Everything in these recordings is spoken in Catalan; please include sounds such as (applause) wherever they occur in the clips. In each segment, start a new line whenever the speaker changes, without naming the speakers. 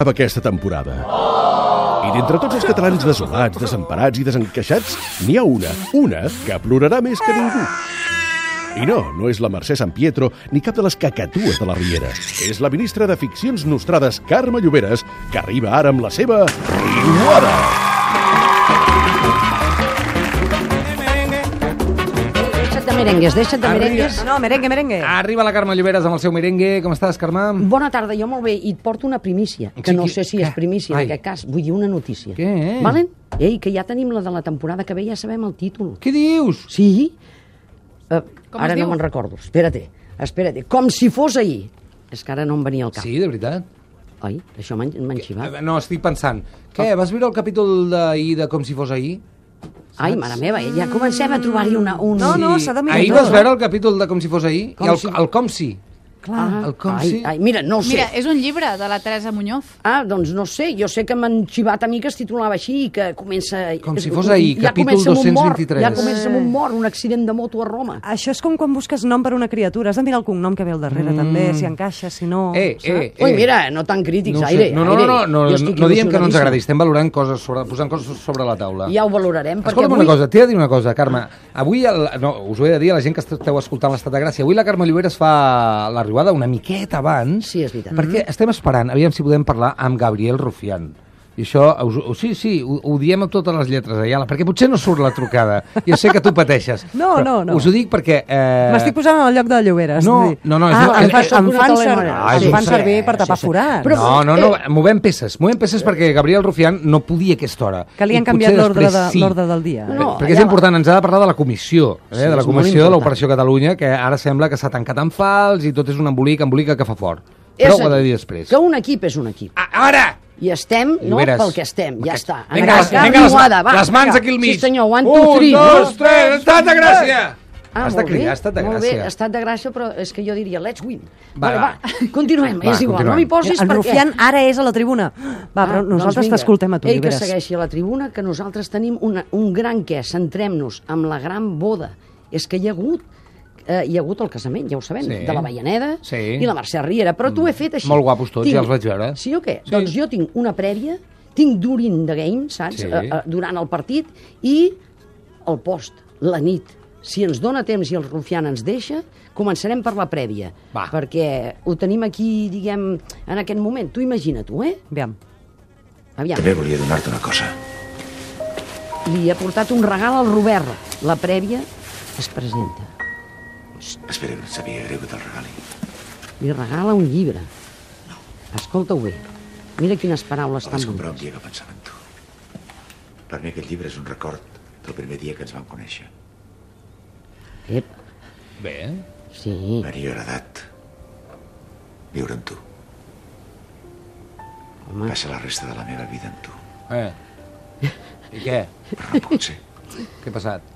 acaba aquesta temporada. I d'entre tots els catalans desolats, desemparats i desencaixats, n'hi ha una, una, que plorarà més que ningú. I no, no és la Mercè San Pietro ni cap de les cacatues de la Riera. És la ministra de Ficcions Nostrades, Carme Lloberes, que arriba ara amb la seva Riuada.
Deixa't de merengues, deixa't de
Arriba.
merengues.
No, merengue, merengue.
Arriba la Carme Lloberes amb el seu merengue. Com estàs, Carme?
Bona tarda, jo molt bé. I et porto una primícia, que
Sí,
no
qui-
sé si és
què?
primícia
Ai.
en aquest cas. Vull dir una notícia.
Què?
Valen? Ei, que ja tenim la de la temporada que ve, ja sabem el títol.
Què dius?
Sí? Uh,
Com
ara
es
no
diu?
me'n recordo. Espera't, espera't. Com si fos ahir. És que ara no em venia al cap.
Sí, de veritat.
Oi? Això m'han m'han xivat.
Eh, No, estic pensant. Què, vas veure el capítol d'ahir de Com si fos ahir?
Ai, mare meva, eh, ja comencem a trobar-hi una... Un...
No, no,
Sí.
s'ha de mirar
Ahir
tot.
vas veure el capítol de Com si fos ahir?
Com
I el,
si-
el Com si?
Clar.
el com
Ah, ai,
sí.
ai, mira, no ho sé.
Mira, és un llibre de la Teresa Muñoz.
Ah, doncs no sé, jo sé que m'han xivat a mi que es titulava així i que comença... eh,
Com si fos ahir,
ja
capítol
comença amb un mort,
223.
ja comença amb un mort, un accident de moto a Roma.
Ah,
Això és com quan busques nom per una criatura. Has de mirar el cognom que ve al darrere, mm. també, si encaixa, si
Oh,
no...
Eh, eh, eh.
Ui, Ah, mira, no tan crítics,
No, ho sé.
aire,
no, no,
aire.
no, no,
Jo
no,
estic
no diem que no ens
il·lusionadíssima.
agradi. Estem valorant coses, sobre, posant coses sobre la taula.
Ja ho valorarem, perquè
Escolta'm
avui...
una cosa, t'he de dir una cosa, Carme. Avui, el, no, us ho he de dir a la gent que esteu escoltant l'Estat de Gràcia, avui la Carme Lloberes fa l'arribada una miqueta abans.
Sí, és veritat.
Perquè
Mm-hmm.
estem esperant, aviam si podem parlar amb Gabriel Rufián. I això, us, ho- sí, sí, ho, ho diem amb totes les lletres, Ayala, perquè potser no surt la trucada. Jo sé que tu pateixes.
No,
però
no, no.
Us ho dic perquè... Eh...
M'estic posant en el lloc de Lloberes.
No,
vull dir.
no, no, és
ah,
no,
em,
eh,
fa,
eh,
em
una
fan,
taula
ser,
de
Ah, és
em
un
fan
ser-
servir per
sí,
tapar
sí.
forats.
Però-
No, no, no,
eh,
movem peces, movem peces perquè Gabriel Rufián no podia a aquesta hora.
Que li han
I
canviat
potser
l'ordre
després
de- l'ordre del dia.
Eh,
No,
perquè és
allà-
important, ens ha de parlar de la comissió, eh,
Sí,
de la
és
comissió
molt
de
important.
l'Operació Catalunya, que ara sembla que s'ha tancat en fals i tot és un embolic, embolica que fa fort.
És
Però
a
ho ha de dir després.
Que un equip és un equip.
A- Ara!
I estem, no,
Lloberes.
pel que estem, ja
Aquest-
està. En
Vinga,
aquest cas,
vinga, les,
riuada, va,
les mans
vinga.
aquí al mig.
Sí, senyor, one, two, three.
Un, dos, tres, estat de gràcia!
Ah,
has
molt
de
bé,
cridar, estat de
molt
gràcia.
Bé, estat de gràcia, però és que jo diria let's win.
Va,
Bueno,
va.
va, continuem,
Va,
és igual,
continuem.
no m'hi posis
El
perquè...
Eh, Rufián ara és a la tribuna. Va, Ah, però nosaltres
Ah, doncs vinga.
t'escoltem a tu,
Ell que
Lloberes.
segueixi a la tribuna, que nosaltres tenim una, un gran què, centrem-nos amb la gran boda. És que hi ha hagut eh, hi ha hagut el casament, ja ho sabem,
Sí.
de la Veianeda
Sí. Mm.
i la Mercè Riera, però t'ho he fet així.
Molt guapos tots, ja els vaig veure.
Sí o què?
Sí.
Sí. Doncs jo tinc una prèvia, tinc during the game, saps?
Sí.
Sí. Eh, eh, durant el partit i el post, la nit. Si ens dona temps i el Rufián ens deixa, començarem per la prèvia.
Va.
Perquè ho tenim aquí, diguem, en aquest moment. Tu imagina-t'ho, eh?
Aviam.
Aviam.
També volia donar-te una cosa.
Li ha portat un regal al Robert. La prèvia es presenta.
Espera, que sabia greu que te'l regali.
Li regala un llibre. Escolta-ho bé. Mira quines paraules
El
tan
vaig comprar un
boniques.
dia que pensava en tu. Per mi aquest llibre és un record del primer dia que ens vam conèixer.
Ep,
Bé,
sí.
M'hauria agradat viure amb tu.
Home.
Passar la resta de la meva vida amb tu.
eh. I què?
Però no pot ser.
Què ha passat?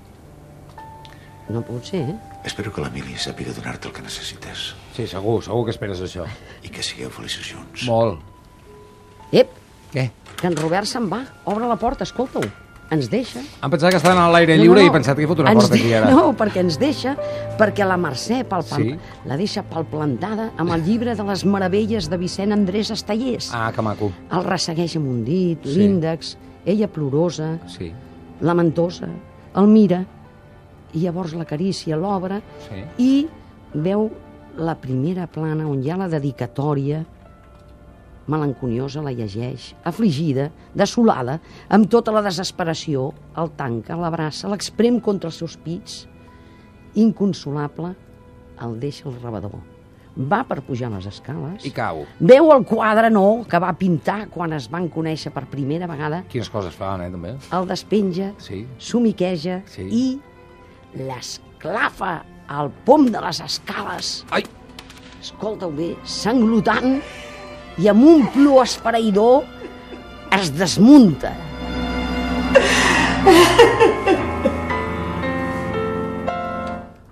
No pot ser, eh?
Espero que l'Emili sàpiga donar-te el que necessites
Sí, segur, segur que esperes això.
i que sigueu feliços junts.
Molt.
Ep,
Què?
que en Robert se'n va. Obre la porta, escolta-ho. Ens deixa.
Han pensat que estaven a l'aire lliure i he pensat que he fot una
Ens
porta
de-
aquí ara.
(laughs) No, perquè ens deixa, perquè la Mercè pel pam,
Sí.
la deixa palplantada amb el llibre de les meravelles de Vicent Andrés Estallés.
Ah, que maco.
El ressegueix amb un dit,
Sí.
l'índex, ella plorosa,
Sí.
lamentosa, el mira, i llavors l'acaricia, l'obre,
Sí.
i veu la primera plana on hi ha la dedicatòria, melanconiosa la llegeix, afligida, desolada, amb tota la desesperació, el tanca, l'abraça, l'exprem contra els seus pits, inconsolable, el deixa al rebedor. Va per pujar les escales,
I cau.
veu el quadre nou que va pintar quan es van conèixer per primera vegada,
Quines coses fan, eh, també.
el despenja,
Sí.
somiqueja
Sí.
i l'esclafa al pom de les escales,
Ai,
escolta-ho bé, sanglotant i amb un plor esfereïdor es desmunta.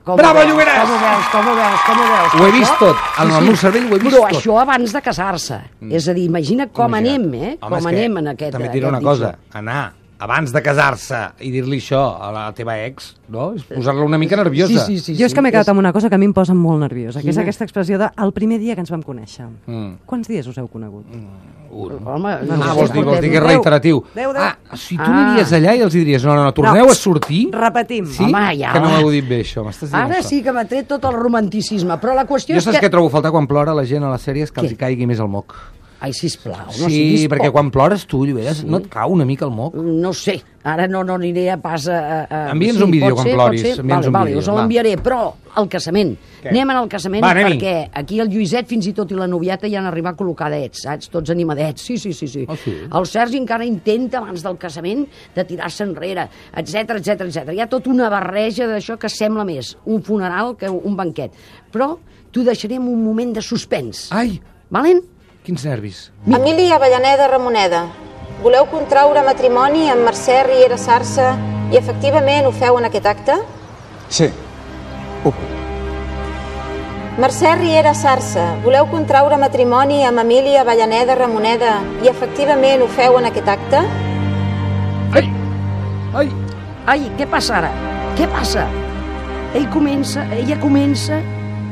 Com ho
Bravo,
veus?
Lloberes!
Com ho veus, com ho veus, com ho veus?
Ho he vist
Això-
tot, en el meu cervell ho he vist
Però
tot. Mm.
això abans de casar-se. És a dir, imagina com
Imagina't.
anem, eh?
Home, és
com
que
anem en aquest...
També et diré una
aquest
cosa,
disc.
anar abans de casar-se i dir-li això a la teva ex, no? És posar-la una mica nerviosa.
Sí, sí, sí.
jo és que m'he quedat amb una cosa que a mi em posa molt nerviosa, que és
Quina?
aquesta expressió de el primer dia que ens vam conèixer.
Mm.
Quants dies us heu conegut?
Un.
Home,
Ah, vols dir, vols dir que és
Deu.
reiteratiu.
Deu, deu.
Ah, si tu
Ah.
aniries allà i els diries no, no, no, torneu a sortir...
Repetim.
Sí?
Home, ja,
que no
home.
m'heu dit bé, això. M'estàs dient
Ara
això.
sí que m'ha tret tot el romanticisme, però la qüestió
Jo
és
saps
que...
què trobo a faltar quan plora la gent a les sèries? Que
Què?
els hi caigui més el moc.
Ai, sisplau, no
sí,
siguis
perquè
poc. Mm.
quan plores tu, Lloberes, no et cau una mica el moc?
No sé, ara no, no aniré a pas a... a... a-
Envia'ns un vídeo
pot
quan
ser,
ploris,
pot ser.
envia'ns
Vale,
un
vale,
vídeo,
us el
va.
enviaré, però al casament.
Què?
Anem al casament
Va, anem-hi.
perquè aquí el Lluïset fins i tot i la noviata ja han arribat col·locadets, saps? Tots animadets, sí, sí, sí. sí.
Ah, sí?
El Sergi encara intenta abans del casament de tirar-se enrere, etc etc etc. Hi ha tota una barreja d'això que sembla més un funeral que un banquet. Però t'ho deixaré en un moment de suspens.
Ai,
Valent?
quins nervis.
Emili Avellaneda Ramoneda, voleu contraure matrimoni amb Mercè Riera Sarsa i efectivament ho feu en aquest acte?
Sí. Ho,
Mercè Riera Sarsa, voleu contraure matrimoni amb Emili Avellaneda Ramoneda i efectivament ho feu en aquest acte?
Ai, ai,
Ai, què passa ara? Què passa? Ell comença, ella comença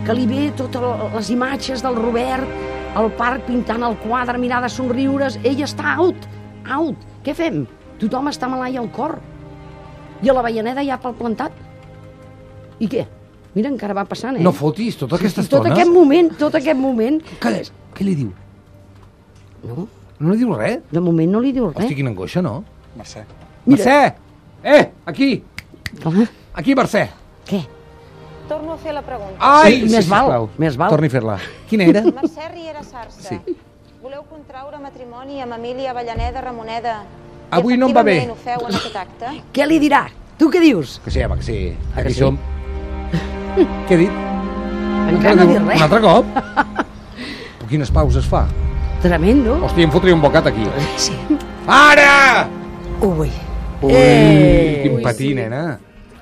que li ve totes les imatges del Robert al parc pintant el quadre, mirar de somriures, ella està out, out. Què fem? Tothom està malai al cor. I a la veianeda ja pel plantat. I què? Mira, encara va passant, eh?
no fotis tota aquesta
tot
estona.
aquest moment, tot aquest moment...
Calla, què li diu?
No, Eh?
No li diu res?
de moment no li diu
Hosti,
res.
quina angoixa, no?
Mercè.
Mira.
Mercè! Eh, aquí!
Clar,
Aquí, Mercè!
què?
Torno a fer la pregunta.
Ai!
Sí, més val,
sisplau.
més val.
Torni a fer-la. Quina era?
Mercè Riera Sarsa,
Sí.
voleu contraure matrimoni amb Emili Avellaneda Ramoneda i
Avui no em va bé.
efectivament ho feu en aquest acte?
Què li dirà? Tu què dius?
Que sí, home, que sí.
Ah, que
Aquí
sí?
som. Què he dit?
Encara no ha dit
Un
res.
altre cop? Però Quines pauses fa?
Tremendo.
Hòstia, em fotria un bocat aquí.
Sí.
Ara!
Ui.
Ui,
Eh!
quin
Ui,
patí,
sí.
nena.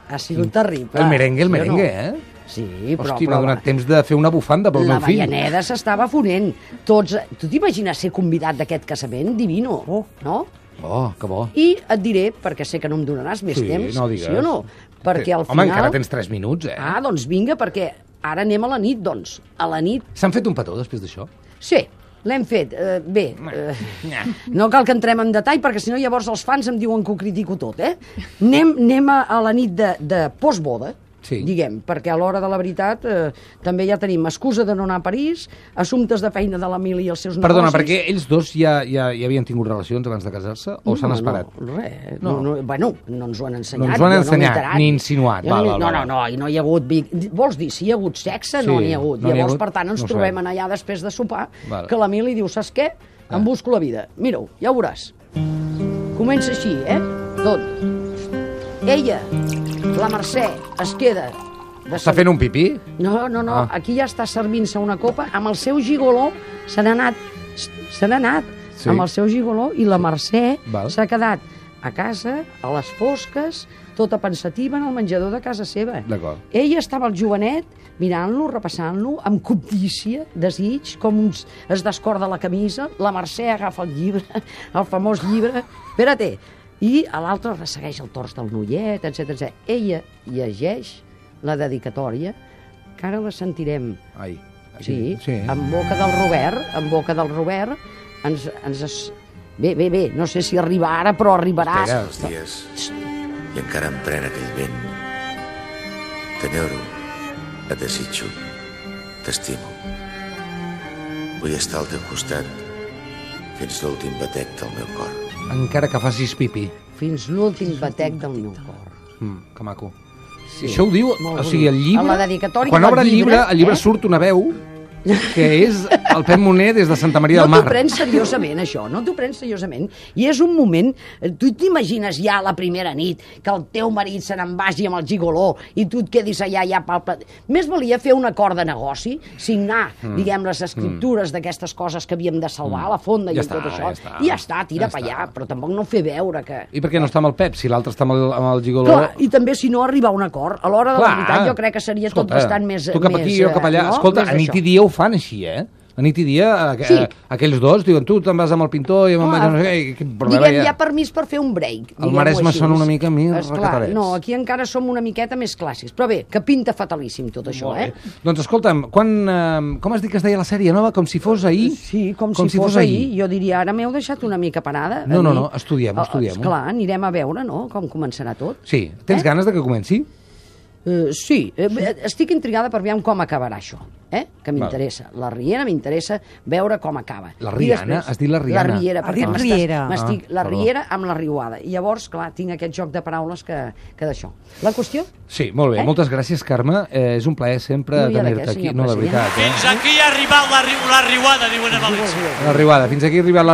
Ha sigut Mm. terrible.
El merengue, el
Sí o
merengue,
no?
eh?
Sí, però...
Hòstia, m'ha
però
donat temps de fer una bufanda pel
la
meu fill.
Vallaneda s'estava fonent. Tots... Tu t'imagines ser convidat d'aquest casament? Divino,
Oh.
no?
Oh, que bo.
I et diré, perquè sé que no em donaràs més
Sí,
temps,
no digues.
sí o no? Perquè al
Home,
final...
encara tens 3 minuts, eh?
Ah, doncs vinga, perquè ara anem a la nit, doncs. A la nit,
S'han fet un petó després d'això?
sí, l'hem fet. Eh, bé, (laughs) eh, no cal que entrem en detall, perquè si no llavors els fans em diuen que ho critico tot, eh? Anem, anem a, a la nit de, de postboda,
Sí.
diguem, perquè a l'hora de la veritat eh, també ja tenim excusa de no anar a París, assumptes de feina de l'Emili i els seus
Perdona,
negocis...
perquè ells dos ja, ja, ja havien tingut relacions abans de casar-se? O s'han esperat?
No, res.
No.
No. No, bueno, no ens ho han ensenyat.
No ens ho han
jo m'he
ensenyat,
enterat.
ni insinuat,
Jo no,
val,
m'he-
val,
no, no,
val.
no, i no hi ha hagut... vi- Vols dir, si hi ha hagut sexe?
Sí,
no n'hi ha hagut.
no n'hi ha
Llavors,
hagut,
per tant, ens
no ho
trobem
sabem.
allà després de sopar,
Val. Eh.
que l'Emili diu, saps què? Em busco la vida. Mira-ho, ja ho veuràs. Comença així, eh? Tot. Ella, la Mercè, es queda... De
Està fent un pipí?
no, no, no,
Ah.
ah. aquí ja està servint-se una copa, amb el seu gigoló se n'ha anat, se n'ha anat,
Sí.
sí. amb el seu gigoló, i la Mercè
Val.
s'ha quedat a casa, a les fosques, tota pensativa en el menjador de casa seva.
D'acord.
Ella estava al jovenet mirant-lo, repassant-lo, amb cobdícia, desig, com uns, es descorda la camisa, la Mercè agafa el llibre, (laughs) el famós llibre, espera-te, i a l'altre ressegueix el tors del noiet, etc. Ella llegeix la dedicatòria, que ara la sentirem,
Ai.
sí,
sí.
en boca del Robert, en boca del Robert, ens... ens es... Bé, bé, bé, no sé si arriba ara, però arribarà.
Espera,
Els dies i encara em pren aquell vent. T'enyoro, et desitjo, t'estimo. Vull estar al teu costat fins l'últim batec del meu cor.
Encara que facis pipí.
Fins l'últim batec del meu cor.
Mm, que maco.
Sí.
Això ho diu,
Molt
o sigui, el
bonic.
llibre...
A la dedicatòria
quan
del
obre el
llibre,
llibre, el llibre
eh?
surt una veu
(laughs)
que és el Pep Moner des de Santa Maria del
no
Mar.
t'ho prens seriosament, això, no t'ho prens seriosament. I és un moment... eh, Tu t'imagines ja la primera nit que el teu marit se n'en vagi amb el gigoló i tu et quedis allà ja pel plat... Més valia fer un acord de negoci, signar,
Mm.
diguem, les escriptures d'aquestes coses que havíem de salvar a la fonda
Ja
i amb
està,
tot això.
ja està.
I ja està, tira ja
Ja
per
està.
allà, però tampoc no fer veure que...
I per què no està amb el Pep, si l'altre està amb el, amb el Gigoló?
Clar, i també si no arribar a un acord, a l'hora de la veritat jo crec que seria
Escolta,
tot bastant més...
Tu cap aquí,
més,
jo cap allà.
eh, no?
Escolta,
Més
a nit
d'això.
i dia ho fan així, eh? de nit i dia, a,
Sí.
a, aquells dos diuen tu te'n vas amb el pintor i jo me'n vaig...
Clar.
No sé, què, i doncs, quin problema
Diguem,
hi ha?
hi ha permís per fer un break. diguem-ho
Maresme
així.
són una mica més
Esclar,
recatarets.
No, aquí encara som una miqueta més clàssics. Però bé, que pinta fatalíssim tot això,
Molt
eh?
bé. Doncs escolta'm, quan, eh, com has dit que es deia la sèrie nova? Com si fos ahir?
Sí, com, com si, fos, ahir. Jo diria, ara m'heu deixat una mica parada.
No,
A
no,
mi-
no, estudiem-ho,
Ah,
estudiem-ho.
Esclar, anirem a veure, no?, com començarà tot.
Sí, tens
Eh?
ganes de que comenci?
Eh, sí, eh, bé, estic intrigada per veure com acabarà això, eh? que
Val.
m'interessa. La Riera m'interessa veure com acaba.
La
I
Riana? Has dit la Riana.
La Riera,
Ha
perquè
dit
m'estàs-
Riera.
M'estic,
Ah,
la
perdó.
Riera amb la Riuada. I llavors, clar, tinc aquest joc de paraules que, que d'això. La qüestió?
Sí, molt bé.
Eh?
Moltes gràcies, Carme. Eh, és un plaer sempre
No hi ha de
tenir-te
què,
aquí.
senyor
No, de
president.
veritat. Eh?
Fins aquí ha arribat la, riu- la riuada, diuen a València.
L'arribada. Fins aquí ha arribat la